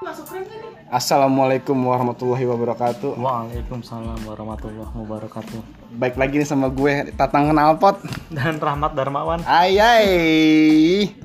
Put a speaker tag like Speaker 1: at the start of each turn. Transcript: Speaker 1: masuk frame kan nih?
Speaker 2: Assalamualaikum warahmatullahi wabarakatuh.
Speaker 3: Waalaikumsalam warahmatullahi wabarakatuh.
Speaker 2: Baik lagi nih sama gue Tatang Knalpot.
Speaker 3: Dan Rahmat Darmawan.
Speaker 2: Ayai.